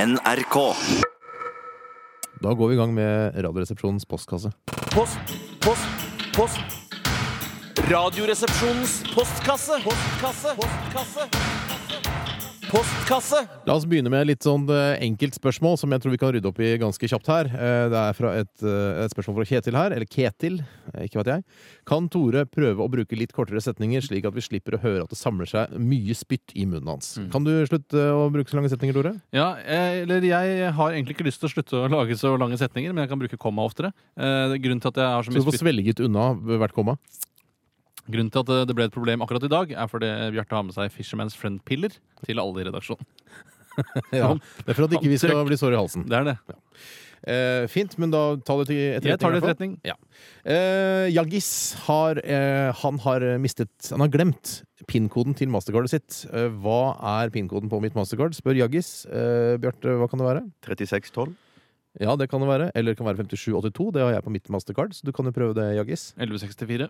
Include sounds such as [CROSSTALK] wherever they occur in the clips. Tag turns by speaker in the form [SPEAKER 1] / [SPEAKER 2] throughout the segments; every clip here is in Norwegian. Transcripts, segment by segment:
[SPEAKER 1] NRK.
[SPEAKER 2] Da går vi i gang med Radioresepsjonens postkasse.
[SPEAKER 3] Post, post, post. Radioresepsjonens postkasse. Postkasse. Postkasse. Postkasse.
[SPEAKER 2] La oss begynne med litt sånn eh, enkelt spørsmål som jeg tror vi kan rydde opp i ganske kjapt her. Eh, Det er fra et, eh, et spørsmål fra Kjetil her, eller Ketil, eh, ikke vet jeg. Kan Tore prøve å bruke litt kortere setninger, slik at vi slipper å høre at det samler seg mye spytt i munnen hans? Kan du slutte eh, å bruke så lange setninger, Tore?
[SPEAKER 4] Ja, eh, eller jeg har egentlig ikke lyst til å slutte å lage så lange setninger, men jeg kan bruke komma oftere. Eh, det- grunnen til at jeg har så
[SPEAKER 2] Så
[SPEAKER 4] mye
[SPEAKER 2] du får
[SPEAKER 4] spytt,
[SPEAKER 2] svelget unna hvert komma.
[SPEAKER 4] grunnen til at eh, det ble et problem akkurat i dag, er fordi Bjarte har med seg Fisherman's Friend-piller til alle i
[SPEAKER 2] [LAUGHS]
[SPEAKER 4] redaksjonen.
[SPEAKER 2] [LAUGHS] Ja, det er for at ikke vi skal bli sår i halsen.
[SPEAKER 4] Det er det.
[SPEAKER 2] Eh, fint, men da tar det til etterretning.
[SPEAKER 4] Jeg tar det
[SPEAKER 2] i hvert fall.
[SPEAKER 4] til etterretning.
[SPEAKER 2] Ja. Eh, Jagis har, eh, han har mistet Han har glemt PIN-koden til mastercardet sitt. Eh, hva er PIN-koden på mitt mastercard? Spør Jagis. Eh, Bjarte, hva kan det være?
[SPEAKER 1] 3612.
[SPEAKER 2] Ja, det kan det være. Eller det kan være 5782. Det har jeg på mitt mastercard, så du kan jo prøve det, Jagis.
[SPEAKER 4] 1164.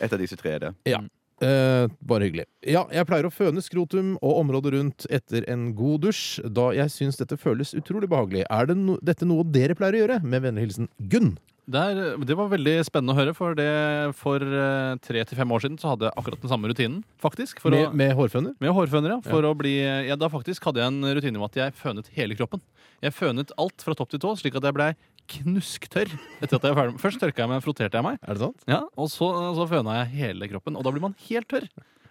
[SPEAKER 1] Et av disse tre er det.
[SPEAKER 2] Eh, bare hyggelig. Ja, jeg pleier å føne skrotum og området rundt etter en god dusj, da jeg syns dette føles utrolig behagelig. Er det no dette noe dere pleier å gjøre? Med vennlig hilsen Gunn.
[SPEAKER 4] Det, er, eh, det var veldig spennende å høre, for det, for eh, tre til fem år siden så hadde jeg akkurat den samme rutinen, faktisk. For
[SPEAKER 2] Med,
[SPEAKER 4] å,
[SPEAKER 2] med hårføner?
[SPEAKER 4] med hårføner, ja. For å bli, ja. Da faktisk hadde jeg en rutine med at jeg fønet hele kroppen. Jeg fønet alt fra topp til tå, slik at jeg blei knusktørr. etter at jeg var ferdig. med- Først tørka jeg meg, froterte jeg meg.
[SPEAKER 2] Er det sant?
[SPEAKER 4] Ja, og så, så føna jeg hele kroppen, og da blir man helt tørr.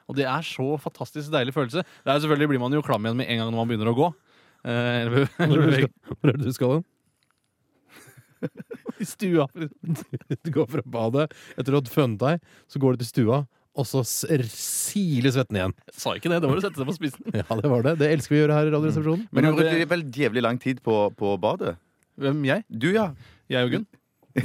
[SPEAKER 4] Og det er så fantastisk deilig følelse. Det er selvfølgelig blir man jo klam igjen med en gang når man begynner å gå. Eh, eller be- eller
[SPEAKER 2] Hvor er det du
[SPEAKER 4] bevege
[SPEAKER 2] skal- hvor er det du skal hen?
[SPEAKER 4] [LAUGHS] i stua.
[SPEAKER 2] [LAUGHS] Du går fra badet etter å ha fønet deg, så går du til stua, og så s- r- siler svetten igjen. [LAUGHS]
[SPEAKER 4] Jeg sa ikke det, det var å sette seg på spissen.
[SPEAKER 2] Ja, det var det. Det elsker vi å gjøre her i Radioresepsjonen.
[SPEAKER 1] Men du
[SPEAKER 4] at
[SPEAKER 1] brukte
[SPEAKER 4] det-
[SPEAKER 1] vel djevlig lang tid på, på badet?
[SPEAKER 4] Hvem? Jeg?
[SPEAKER 1] Du, ja.
[SPEAKER 4] Jeg og Gunn? Mm.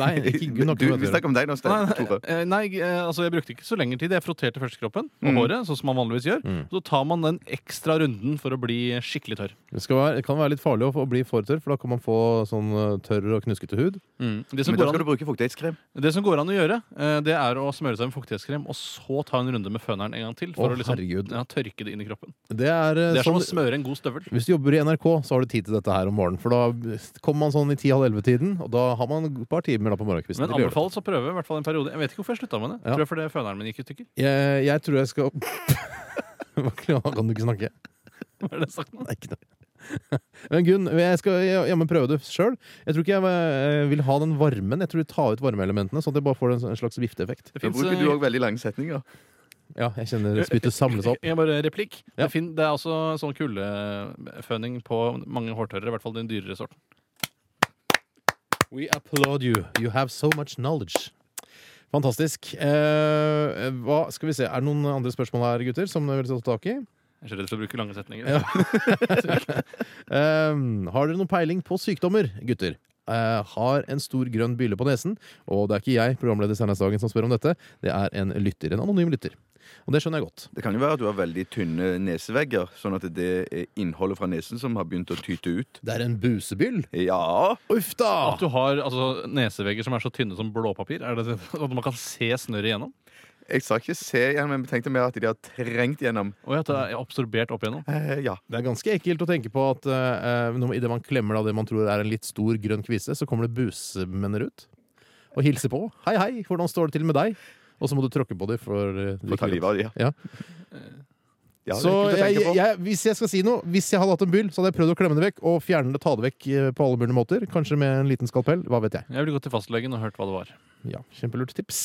[SPEAKER 2] Nei, ikke Gunn har
[SPEAKER 4] [LAUGHS]
[SPEAKER 2] ikke noe med
[SPEAKER 1] du, vi
[SPEAKER 2] det å gjøre.
[SPEAKER 1] snakker om deg nå, Stein. Tore.
[SPEAKER 4] Eh, Nei, eh, altså jeg brukte ikke så lenge tid. Jeg froterte først kroppen og
[SPEAKER 1] Mm.
[SPEAKER 4] håret, sånn som man vanligvis gjør.
[SPEAKER 2] Mm.
[SPEAKER 4] Så tar man den ekstra runden for å bli skikkelig tørr.
[SPEAKER 2] Det skal være, det kan være litt farlig å få- å bli for tørr, for da kan man få sånn eh, tørr og knuskete hud.
[SPEAKER 4] Det, som går
[SPEAKER 1] Men da skal du
[SPEAKER 4] an,
[SPEAKER 1] bruke fuktighetskrem.
[SPEAKER 4] det som går an å gjøre, eh, det er å smøre seg med fuktighetskrem og så ta en runde med føneren en gang til. For
[SPEAKER 2] Å,
[SPEAKER 4] å liksom,
[SPEAKER 2] herregud.
[SPEAKER 4] ja, tørke det inn i kroppen.
[SPEAKER 2] Det er, eh,
[SPEAKER 4] Det er som
[SPEAKER 2] sånn,
[SPEAKER 4] å smøre en god støvel.
[SPEAKER 2] hvis du jobber i NRK, så har du tid til dette her om morgenen. For da kommer man sånn i 10-halv-11-tiden, og da har man et par timer da på morgenkvisten.
[SPEAKER 4] Men
[SPEAKER 2] til å gjøre det.
[SPEAKER 4] anbefales å prøve i hvert fall en periode. Jeg vet ikke hvorfor jeg slutta med det.
[SPEAKER 2] Ja.
[SPEAKER 4] Tror jeg fordi føneren min gikk i stykker.
[SPEAKER 2] Jeg, jeg tror jeg skal [LAUGHS] Hva Kan du ikke snakke?
[SPEAKER 4] Hva er det jeg har sagt nå?
[SPEAKER 2] Nei, ikke noe. [LAUGHS] Men Gunn, jeg skal jeg- jeg må prøve det sjøl. Jeg tror ikke jeg eh, vil ha den varmen. Jeg tror jeg tar ut varmeelementene, sånn at jeg bare får en sånn- en slags vifteeffekt.
[SPEAKER 4] Det
[SPEAKER 1] Da
[SPEAKER 4] finnes, eh,
[SPEAKER 1] bruker du òg veldig lange setninger.
[SPEAKER 2] Ja, jeg [LAUGHS] kjenner spyttet samle seg opp.
[SPEAKER 4] jeg bare replikk.
[SPEAKER 2] Ja.
[SPEAKER 4] Det, fin, det er også sånn kuldeføning på mange hårtørrere, i hvert fall den dyrere sorten.
[SPEAKER 2] We applaud you. You have so much knowledge. Fantastisk. Eh, hva skal vi se, Er det noen andre spørsmål her, gutter, som dere vil ta tak i?
[SPEAKER 4] Jeg er så redd for å bruke lange setninger.
[SPEAKER 2] Ja. Eh, har dere noen peiling på sykdommer, gutter? Eh, har en stor grønn byle på nesen. Og det er ikke jeg, programleder Steinar Sagen, som spør om dette. Det er en lytter. En anonym lytter. Og det skjønner jeg godt.
[SPEAKER 1] Det kan jo være at du har veldig tynne nesevegger, sånn at det er innholdet fra nesen som har begynt å tyte ut.
[SPEAKER 2] Det er en busebyll. Ah,
[SPEAKER 1] Ja,
[SPEAKER 2] Uff da!
[SPEAKER 4] At du har altså, nesevegger som er så tynne som blåpapir? Er det, [LAUGHS] at man kan se snørret igjennom?
[SPEAKER 1] jeg sa ikke se igjen, men tenkte mer at de har trengt gjennom.
[SPEAKER 4] Og at det er absorbert opp igjennom?
[SPEAKER 1] Eh, ja.
[SPEAKER 2] Det er ganske ekkelt å tenke på at uh, idet man klemmer da det man tror er en litt stor grønn kvise, så kommer det busemenner ut og hilser på. Hei, hei, hvordan står det til med deg? Og så må du tråkke på dem for eh,
[SPEAKER 1] For å ta livet av de.
[SPEAKER 2] Ja.
[SPEAKER 1] Ja, det er
[SPEAKER 2] Så
[SPEAKER 1] ekkelt å
[SPEAKER 2] jeg,
[SPEAKER 1] tenke på.
[SPEAKER 2] jeg, hvis jeg skal si noe, hvis jeg hadde hatt en byll, så hadde jeg prøvd å klemme det vekk og fjerne det, ta det vekk eh, på alle mulige måter. Kanskje med en liten skalpell. Hva vet jeg.
[SPEAKER 4] Jeg ville gått til fastlegen og hørt hva det var.
[SPEAKER 2] Ja, Kjempelurt tips.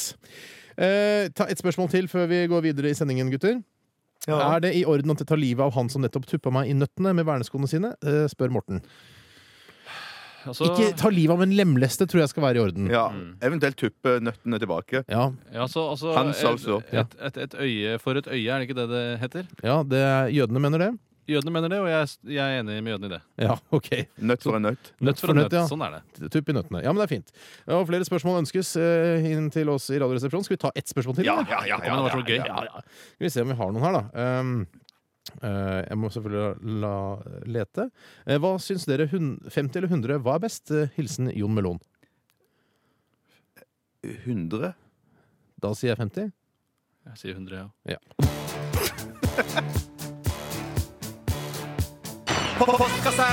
[SPEAKER 2] Eh, ta et spørsmål til før vi går videre i sendingen, gutter. Er det i orden at jeg tar livet av han som nettopp tuppa meg i nøttene med verneskoene sine? Eh, spør Morten.
[SPEAKER 4] Altså,
[SPEAKER 2] Ikke ta livet av en lemleste, tror jeg skal være i orden. Ja.
[SPEAKER 1] Ja, Eventuelt tuppe nøttene tilbake.
[SPEAKER 4] ja, altså, altså,
[SPEAKER 1] Hans, altså.
[SPEAKER 4] Et, et, et, et øye for et øye, er det ikke det det heter?
[SPEAKER 2] Ja, det er, jødene mener det.
[SPEAKER 4] Jødene mener det, og jeg, jeg er enig med jødene i det.
[SPEAKER 2] Ja, [LAUGHS] ok.
[SPEAKER 1] Nøtt for en nøtt.
[SPEAKER 4] Nøtt for
[SPEAKER 2] for
[SPEAKER 4] en
[SPEAKER 2] nøtt,
[SPEAKER 4] nøtt.
[SPEAKER 2] ja.
[SPEAKER 4] Sånn er det.
[SPEAKER 2] Tupp i nøttene. Ja, men det er fint. Og flere spørsmål ønskes eh, inn til oss i Radioresepsjonen. Skal vi ta ett spørsmål til?
[SPEAKER 1] Ja,
[SPEAKER 2] eller?
[SPEAKER 1] ja, ja,
[SPEAKER 4] Ja, men det var så gøy.
[SPEAKER 2] Ja, ja. Skal vi se om vi har noen her, da. Um, eh, jeg må selvfølgelig la lete. Eh, hva syns dere? Hun, 50 eller 100? Hva er best? Eh, hilsen Jon Melon.
[SPEAKER 1] 100?
[SPEAKER 2] Da sier jeg 50.
[SPEAKER 4] Jeg sier 100, ja.
[SPEAKER 3] Postkasse!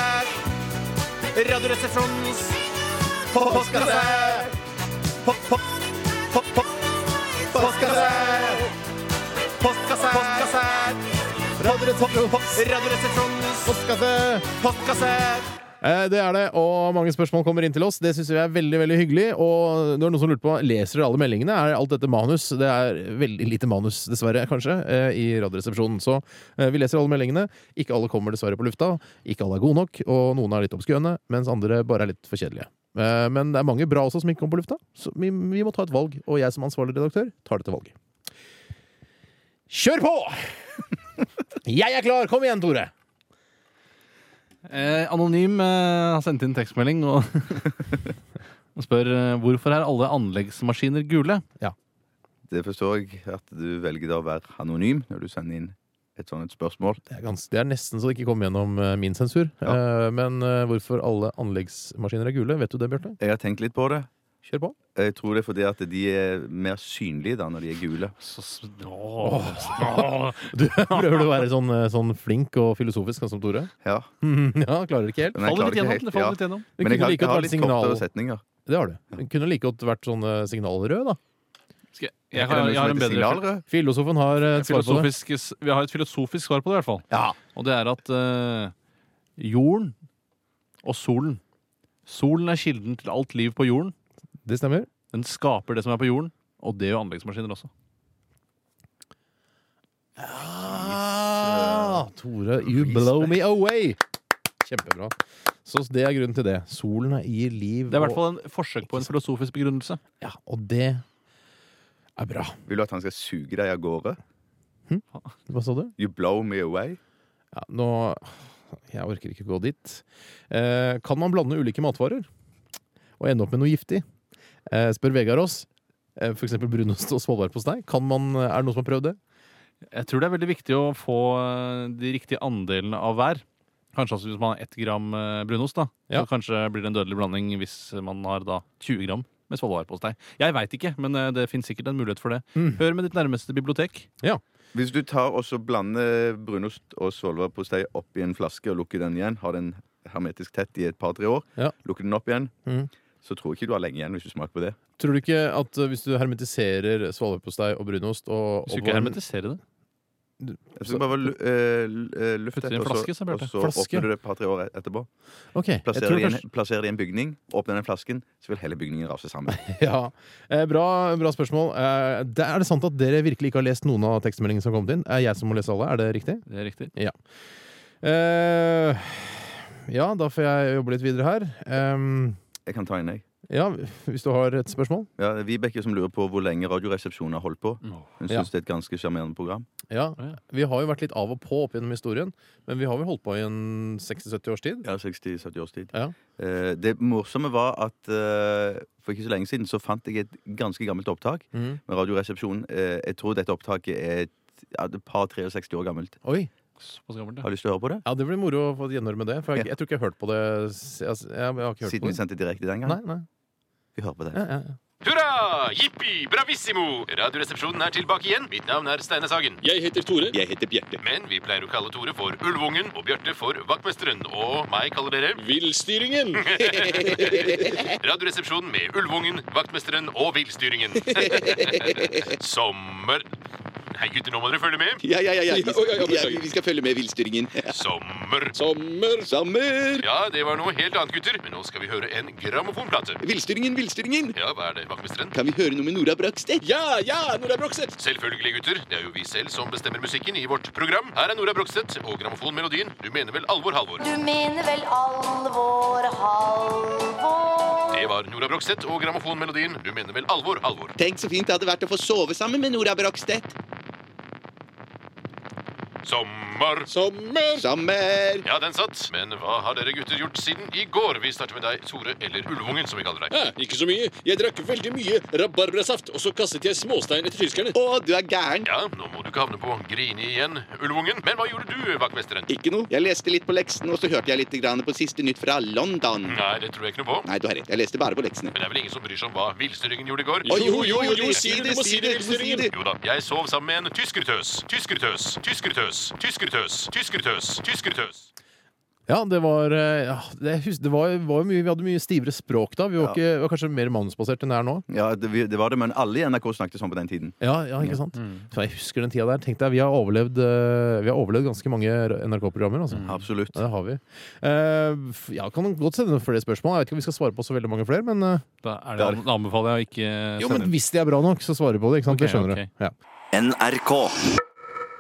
[SPEAKER 3] Radioresepsjonens postkasse! Postkasse! Postkasse! Postkasse! Radioresepsjonens
[SPEAKER 2] Postkasse!
[SPEAKER 3] postkasse!
[SPEAKER 2] Eh, Det er det, og mange spørsmål kommer inn til oss. Det syns vi er veldig veldig hyggelig. Og det var noen som lurte på leser dere alle meldingene. Er alt dette manus? Det er veldig lite manus, dessverre, kanskje, eh, i Radioresepsjonen. Så eh, vi leser alle meldingene. Ikke alle kommer dessverre på lufta. Ikke alle er gode nok, og noen er litt obskøne, mens andre bare er litt for kjedelige. Eh, Men det er mange bra også som ikke kommer på lufta, så vi, vi må ta et valg. Og jeg som ansvarlig redaktør tar dette valget. Kjør på! [LAUGHS] Jeg er klar! Kom igjen, Tore!
[SPEAKER 4] Eh, anonym eh, har sendt inn tekstmelding og, [LAUGHS] og spør eh, hvorfor er alle anleggsmaskiner gule.
[SPEAKER 1] Det forstår jeg at du velger da å være anonym når du sender inn et sånt et spørsmål.
[SPEAKER 2] Det er, gans- det er nesten så det ikke kom gjennom eh, min sensur. Eh, men eh, hvorfor alle anleggsmaskiner er gule, vet du det, Bjarte?
[SPEAKER 1] Jeg har tenkt litt på det.
[SPEAKER 2] Kjør på.
[SPEAKER 1] Jeg tror det er fordi at de er mer synlige da når de er gule.
[SPEAKER 4] Så, s- åh,
[SPEAKER 2] [LAUGHS] Du prøver du å være sånn, eh, sånn flink og filosofisk, sånn som Tore?
[SPEAKER 1] Ja.
[SPEAKER 2] [LAUGHS] ja, klarer ikke helt.
[SPEAKER 4] Faller
[SPEAKER 1] Men jeg klarer
[SPEAKER 4] litt
[SPEAKER 1] ikke
[SPEAKER 4] gjennom.
[SPEAKER 1] helt,
[SPEAKER 4] Det faller
[SPEAKER 1] ja.
[SPEAKER 4] litt gjennom.
[SPEAKER 2] Det
[SPEAKER 1] Men jeg
[SPEAKER 2] kunne
[SPEAKER 1] har,
[SPEAKER 2] like
[SPEAKER 1] jeg har
[SPEAKER 2] godt
[SPEAKER 1] litt
[SPEAKER 2] vært signal...
[SPEAKER 1] kortere setninger.
[SPEAKER 2] Det har du. Det kunne like godt vært sånn eh, signalrød, da.
[SPEAKER 4] Skal jeg, jeg,
[SPEAKER 1] Er ikke det
[SPEAKER 4] har,
[SPEAKER 1] noe
[SPEAKER 4] jeg har en
[SPEAKER 1] som heter
[SPEAKER 4] bedre
[SPEAKER 1] signalrød?
[SPEAKER 2] Filosofen har eh, et svar på det.
[SPEAKER 4] filosofisk, s- Vi har et filosofisk svar på det, i hvert fall. Og det er at eh, jorden og solen Solen er kilden til alt liv på jorden.
[SPEAKER 2] Det stemmer.
[SPEAKER 4] Den skaper det som er på jorden. Og det gjør anleggsmaskiner også.
[SPEAKER 2] Ah, Tore, you blow me away! Kjempebra. Så det er grunnen til det. Solen gir liv
[SPEAKER 4] Det er i hvert
[SPEAKER 2] og,
[SPEAKER 4] fall en forsøk på en filosofisk begrunnelse.
[SPEAKER 2] ja, og det er bra.
[SPEAKER 1] Vil du at han skal suge deg av gårde?
[SPEAKER 2] Hva sa du?
[SPEAKER 1] You blow me away?
[SPEAKER 2] Ja, nå Jeg orker ikke gå dit. Eh, kan man blande ulike matvarer og ende opp med noe giftig? Eh, spør Vegard oss. Eh, for eksempel brunost og svolværpostei. Kan man- eh, Er det noen som har prøvd det?
[SPEAKER 4] Jeg tror det er veldig viktig å få eh, de riktige andelene av hver. Kanskje altså hvis man har ett gram eh, brunost, da.
[SPEAKER 2] Ja.
[SPEAKER 4] Så kanskje blir det en dødelig blanding hvis man har da 20 gram med svolværpostei. Jeg veit ikke, men eh, det fins sikkert en mulighet for det.
[SPEAKER 2] Mm.
[SPEAKER 4] Hør med ditt nærmeste bibliotek.
[SPEAKER 1] Hvis du tar og så blander brunost og svolværpostei oppi en flaske og lukker den igjen, har den hermetisk tett i et par-tre år,
[SPEAKER 2] Ja.
[SPEAKER 1] lukker den opp igjen,
[SPEAKER 4] Mm.
[SPEAKER 2] Mhm.
[SPEAKER 1] så tror jeg ikke du har lenge igjen hvis du smaker på det.
[SPEAKER 2] Tror du ikke at eh, hvis du hermetiserer svolværpostei og brunost og,
[SPEAKER 4] Hvis du
[SPEAKER 2] og
[SPEAKER 4] ikke hermetiserer det.
[SPEAKER 1] Jeg skal bare lu- eh, lu- eh, lufte
[SPEAKER 4] Putter i en
[SPEAKER 1] og så-
[SPEAKER 4] flaske, sa Bjarte.
[SPEAKER 1] Og så
[SPEAKER 2] Flaske?
[SPEAKER 1] åpner du det et par-tre år etterpå.
[SPEAKER 2] Ok, [LAUGHS] jeg
[SPEAKER 1] Plasserer
[SPEAKER 2] tror
[SPEAKER 1] det i
[SPEAKER 2] kanskje-
[SPEAKER 1] en, plasserer det i en bygning, åpner den flasken, så vil hele bygningen rase sammen.
[SPEAKER 2] Ja, eh, bra, bra spørsmål. Eh, det, er det sant at dere virkelig ikke har lest noen av tekstmeldingene som har kommet inn? Er jeg som må lese alle? Er det riktig?
[SPEAKER 4] Det er riktig.
[SPEAKER 2] Eh, ja, da får jeg jobbe litt videre her. Eh,
[SPEAKER 1] Jeg kan ta inn, jeg.
[SPEAKER 2] Ja, hvis du har et spørsmål.
[SPEAKER 1] Ja, det er Vibeke som lurer på hvor lenge Radioresepsjonen har holdt på. Hun syns
[SPEAKER 2] Ja.
[SPEAKER 1] det er et ganske sjarmerende program.
[SPEAKER 2] Ja,
[SPEAKER 4] Ja.
[SPEAKER 2] Vi har jo vært litt av og på opp gjennom historien, men vi har vel holdt på i en 60-70 års tid.
[SPEAKER 1] Ja, 60-70 års tid.
[SPEAKER 2] Ja.
[SPEAKER 1] Eh, det morsomme var at eh, for ikke så lenge siden så fant jeg et ganske gammelt opptak
[SPEAKER 2] Mhm.
[SPEAKER 1] med Radioresepsjonen. Eh, jeg tror dette opptaket er et, ja, et par 63 år gammelt.
[SPEAKER 2] Oi!
[SPEAKER 4] Såpass gammelt,
[SPEAKER 1] Har
[SPEAKER 4] ja.
[SPEAKER 1] du lyst til å høre på det?
[SPEAKER 2] Ja, Det blir moro å få et gjenhør med det. For jeg, jeg tror ikke jeg har hørt på det s- Jeg, jeg, jeg har ikke hørt
[SPEAKER 1] Siden vi
[SPEAKER 2] på det.
[SPEAKER 1] sendte direkte den
[SPEAKER 2] Nei,
[SPEAKER 1] gangen.
[SPEAKER 2] nei.
[SPEAKER 1] Vi hører på det.
[SPEAKER 2] Ja, ja, ja.
[SPEAKER 5] Hurra! Jippi! Bravissimo! Radioresepsjonen er tilbake igjen. Mitt navn er Steine Sagen.
[SPEAKER 6] Jeg heter Tore. Jeg heter Bjerte.
[SPEAKER 5] Men vi pleier å kalle Tore for Ulvungen og Bjarte for Vaktmesteren. Og meg kaller dere
[SPEAKER 6] Villstyringen!
[SPEAKER 5] Radioresepsjonen med Ulvungen, Vaktmesteren og Villstyringen. Sommer... Hei, gutter, nå må dere følge med.
[SPEAKER 7] Ja, ja, ja. ja.
[SPEAKER 6] Oi,
[SPEAKER 7] Vi,
[SPEAKER 6] oi, oi, beklager.
[SPEAKER 7] ja, vi skal følge med villstyringen.
[SPEAKER 5] Sommer...
[SPEAKER 6] Sommer.
[SPEAKER 7] Sommer!
[SPEAKER 5] Ja, det var noe helt annet, gutter. Men nå skal vi høre en grammofonplate.
[SPEAKER 7] Villstyringen, villstyringen!
[SPEAKER 5] Ja, hva er det, Vaktmesteren?
[SPEAKER 7] Kan vi høre noe med Nora Bragstedt?
[SPEAKER 6] Ja, ja, Nora Brokset.
[SPEAKER 5] Selvfølgelig, gutter. Det er jo vi selv som bestemmer musikken i vårt program. Her er Nora Brogstedt og grammofonmelodien Du mener vel alvor, Halvor?
[SPEAKER 8] Du mener vel alvor, Halvor?
[SPEAKER 5] Det var Nora Brogstedt og grammofonmelodien Du mener vel alvor, Halvor?
[SPEAKER 7] Tenk så fint det hadde vært å få sove sammen med Nora Bragstedt.
[SPEAKER 5] Sommer.
[SPEAKER 6] Sommer.
[SPEAKER 7] Sommer!
[SPEAKER 5] Ja, den satt. Men hva har dere gutter gjort siden i går? Vi starter med deg, Tore, eller Ulvungen, som vi kaller deg.
[SPEAKER 6] Ja, ikke så mye. Jeg drakk veldig mye rabarbrasaft, og så kastet jeg småstein etter tyskerne.
[SPEAKER 7] Å, du er gæren!
[SPEAKER 5] Ja, nå må du ikke havne på Grini igjen, Ulvungen. Men hva gjorde du, vaktmesteren?
[SPEAKER 7] Ikke noe. Jeg leste litt på leksene, og så hørte jeg litt grann på siste nytt fra London.
[SPEAKER 5] Nei, det tror jeg ikke noe på.
[SPEAKER 7] Nei, du har rett. Jeg leste bare på leksene.
[SPEAKER 5] Men det er vel ingen som bryr seg om hva villstyringen gjorde i går?
[SPEAKER 6] Jo, jo, jo, jo, si det, du må si det,
[SPEAKER 7] du må si
[SPEAKER 6] villstyringen.
[SPEAKER 5] Jo da, jeg sov sammen med en tyskertøs. Tyskertøs, tyskertøs, tyskertøs, tyskertøs, tyskertøs.
[SPEAKER 2] Ja, det var, eh, ja, det, hus- det var, var jo mye, Vi hadde mye stivere språk da. Vi var,
[SPEAKER 1] Ja.
[SPEAKER 2] ikke, var kanskje mer manusbasert enn det er nå.
[SPEAKER 1] Ja, det, vi- det var det, men alle i NRK snakket sånn på den tiden.
[SPEAKER 2] Ja, ja Mm. ikke sant? Så jeg husker den tida der. Tenk deg, vi har overlevd, eh, vi har overlevd ganske mange r- NRK-programmer. Altså.
[SPEAKER 1] Absolutt.
[SPEAKER 2] Ja, Det har vi. Eh, f- ja, kan godt sende noen flere spørsmål. Jeg vet ikke om vi skal svare på så veldig mange flere, men eh,
[SPEAKER 4] Da, er det, da anbefaler jeg å ikke
[SPEAKER 2] jo, men hvis de er bra nok, så svarer vi på det. ikke sant?
[SPEAKER 4] Ok,
[SPEAKER 2] det skjønner
[SPEAKER 4] ok.
[SPEAKER 2] du. Ja.
[SPEAKER 3] NRK.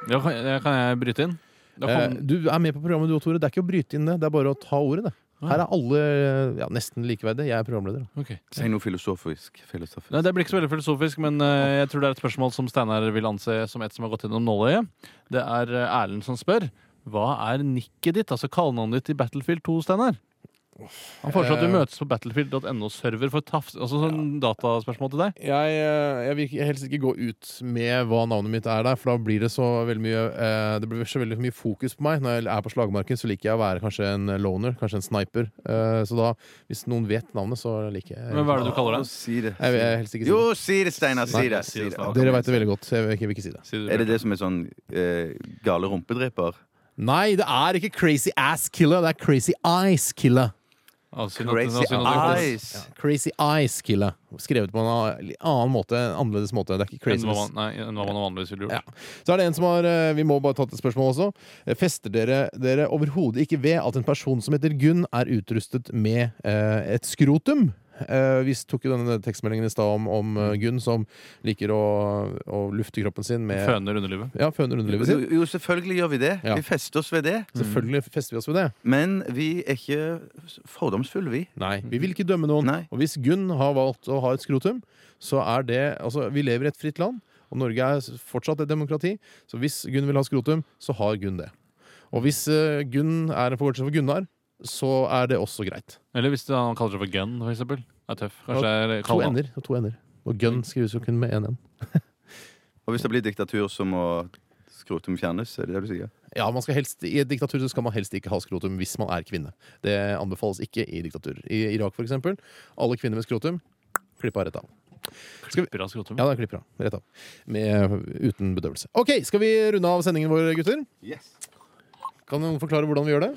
[SPEAKER 4] Ja, kan, ja, kan jeg bryte inn? Da
[SPEAKER 2] Eh,
[SPEAKER 4] kom,
[SPEAKER 2] du er med på programmet du og Tore. Det er ikke å bryte inn det, det er bare å ta ordet. det. Her er alle eh, ja, nesten likeverdige. Jeg er programleder. da.
[SPEAKER 4] ok.
[SPEAKER 1] Si noe filosofisk. filosofisk.
[SPEAKER 4] Nei, det blir ikke så veldig filosofisk, men eh, jeg tror det er et spørsmål som Steinar vil anse som et som har gått gjennom nåløyet. Det er eh, Erlend som spør. Hva er nikket ditt, altså kallenavnet ditt i Battlefield 2, Steinar? Han foreslår at vi
[SPEAKER 2] Eh.
[SPEAKER 4] møtes på battlefield.no-server for tafs... Altså sånn dataspørsmål til deg.
[SPEAKER 2] Jeg, eh, jeg vil ikke- helst ikke gå ut med hva navnet mitt er der, for da blir det så veldig mye eh, Det blir så veldig mye fokus på meg. Når jeg er på slagmarken, så liker jeg å være kanskje en loner, kanskje en sniper. Eh, Så da, hvis noen vet navnet, så liker jeg
[SPEAKER 4] Men hva er det du kaller
[SPEAKER 1] Å,
[SPEAKER 4] deg?
[SPEAKER 1] Si det.
[SPEAKER 2] Jeg vil jeg vil helst ikke si det.
[SPEAKER 1] Jo, si det, Steinar. Si
[SPEAKER 2] Nei,
[SPEAKER 1] det.
[SPEAKER 4] si det,
[SPEAKER 1] Si det.
[SPEAKER 4] Steinar.
[SPEAKER 2] Dere veit det veldig godt. så Jeg vil ikke, jeg vil ikke si det.
[SPEAKER 4] Sier du
[SPEAKER 1] Er det det som er sånn eh, gale rumpedreper?
[SPEAKER 2] Nei, det er ikke Crazy Ass Killer, det er Crazy Eyes Killer.
[SPEAKER 4] Ah, synd at-
[SPEAKER 1] Crazy
[SPEAKER 4] synd at det-
[SPEAKER 1] eyes.
[SPEAKER 2] Crazy Eyes Killer. Skrevet på en annen- annen måte, en annerledes måte. Det er ikke
[SPEAKER 4] Enn
[SPEAKER 2] Crazy
[SPEAKER 4] hva man- Nei, enn hva man vanligvis ville
[SPEAKER 2] Ja.
[SPEAKER 4] gjort.
[SPEAKER 2] Så er det en som har eh, Vi må bare ta et spørsmål også. Eh, Fester dere dere overhodet ikke ved at en person som heter Gunn, er utrustet med eh, et skrotum? Eh, vi tok jo denne tekstmeldingen i stad om, om
[SPEAKER 4] Mm.
[SPEAKER 2] eh, Gunn som liker å, å lufte kroppen sin med
[SPEAKER 4] Føner underlivet.
[SPEAKER 2] Ja, føner underlivet
[SPEAKER 4] Mm.
[SPEAKER 1] Jo,
[SPEAKER 2] sitt.
[SPEAKER 1] jo, selvfølgelig gjør vi det.
[SPEAKER 2] Ja. Mm.
[SPEAKER 1] Vi fester oss ved det.
[SPEAKER 2] Selvfølgelig fester vi oss ved det.
[SPEAKER 1] Men vi er ikke fordomsfulle, vi.
[SPEAKER 2] Nei, vi vil ikke dømme noen.
[SPEAKER 1] Nei.
[SPEAKER 2] Og hvis Gunn har valgt å ha et skrotum, så er det Altså, vi lever i et fritt land, og Norge er s- fortsatt et demokrati, så hvis Gunn vil ha skrotum, så har Gunn det. Og hvis eh, Gunn er en forkortelse for Gunnar, så er det også greit.
[SPEAKER 4] Eller hvis det- han kaller seg for gun, for eksempel. Er tøff.
[SPEAKER 2] Ja,
[SPEAKER 4] Kanskje det er
[SPEAKER 2] To
[SPEAKER 4] kallenavn.
[SPEAKER 2] ender og to ender. Og Gunn skrives jo kun med én n.
[SPEAKER 1] Og hvis det blir diktatur, så må skrotum fjernes. Er det det du sier?
[SPEAKER 2] Ja, man skal helst, I et diktatur så skal man helst ikke ha skrotum hvis man er kvinne. Det anbefales ikke i diktaturer. I Irak, for eksempel. Alle kvinner med skrotum klippa rett av.
[SPEAKER 4] Klipper av skrotum.
[SPEAKER 2] Ja, da klipper han. Rett av. Med, uten bedøvelse. OK, skal vi runde av sendingen vår, gutter? Kan noen forklare hvordan vi gjør det?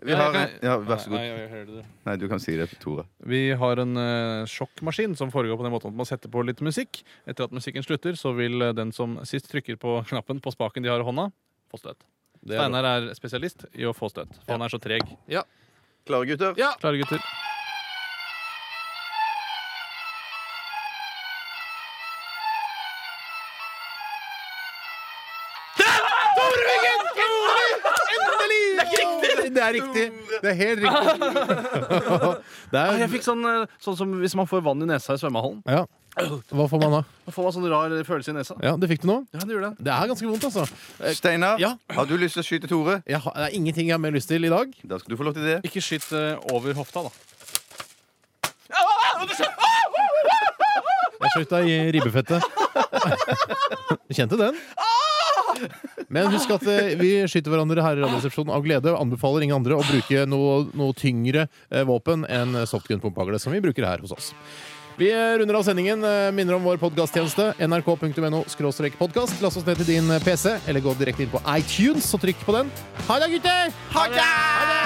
[SPEAKER 1] Vi har, ja, vær så god. Nei, du kan si det, Tore.
[SPEAKER 4] Vi har en eh, sjokkmaskin som foregår på den måten at man setter på litt musikk. Etter at musikken slutter, så vil eh, den som sist trykker på [LAUGHS] knappen på spaken de har i hånda, få støt. Steinar er spesialist i å få støt, for han er så treg.
[SPEAKER 1] Klare, gutter?
[SPEAKER 4] Klare, gutter?
[SPEAKER 2] Det er riktig! Det er helt riktig. [LAUGHS] det
[SPEAKER 4] Ah, Jeg
[SPEAKER 2] er,
[SPEAKER 4] fikk sånn, eh, sånn som hvis man får vann i nesa i svømmehallen.
[SPEAKER 2] ja. Hva får man da?
[SPEAKER 4] Da får man sånn rar følelse i nesa.
[SPEAKER 2] Ja, Det fikk du nå.
[SPEAKER 4] Ja, det gjør det.
[SPEAKER 2] Det er ganske vondt, altså.
[SPEAKER 1] Steinar,
[SPEAKER 2] Ja.
[SPEAKER 1] har du lyst til å skyte Tore?
[SPEAKER 2] Jeg har, det er ingenting jeg har mer lyst til i dag.
[SPEAKER 1] Da skal du få lov til det.
[SPEAKER 4] Ikke skyt eh, over hofta, da.
[SPEAKER 2] Jeg skjøt deg i ribbefettet. Du kjente den? Men husk at eh, vi skyter hverandre her i Radioresepsjonen av glede. og Anbefaler ingen andre å bruke noe, noe tyngre eh, våpen enn softgun-pumphagle, som vi bruker her hos oss. Vi eh, runder av sendingen. eh, Minner om vår podkasttjeneste. nrk.no podkast. Last oss ned til din eh, PC, eller gå direkte inn på iTunes og trykk på den. Ha det, gutter! Ha det!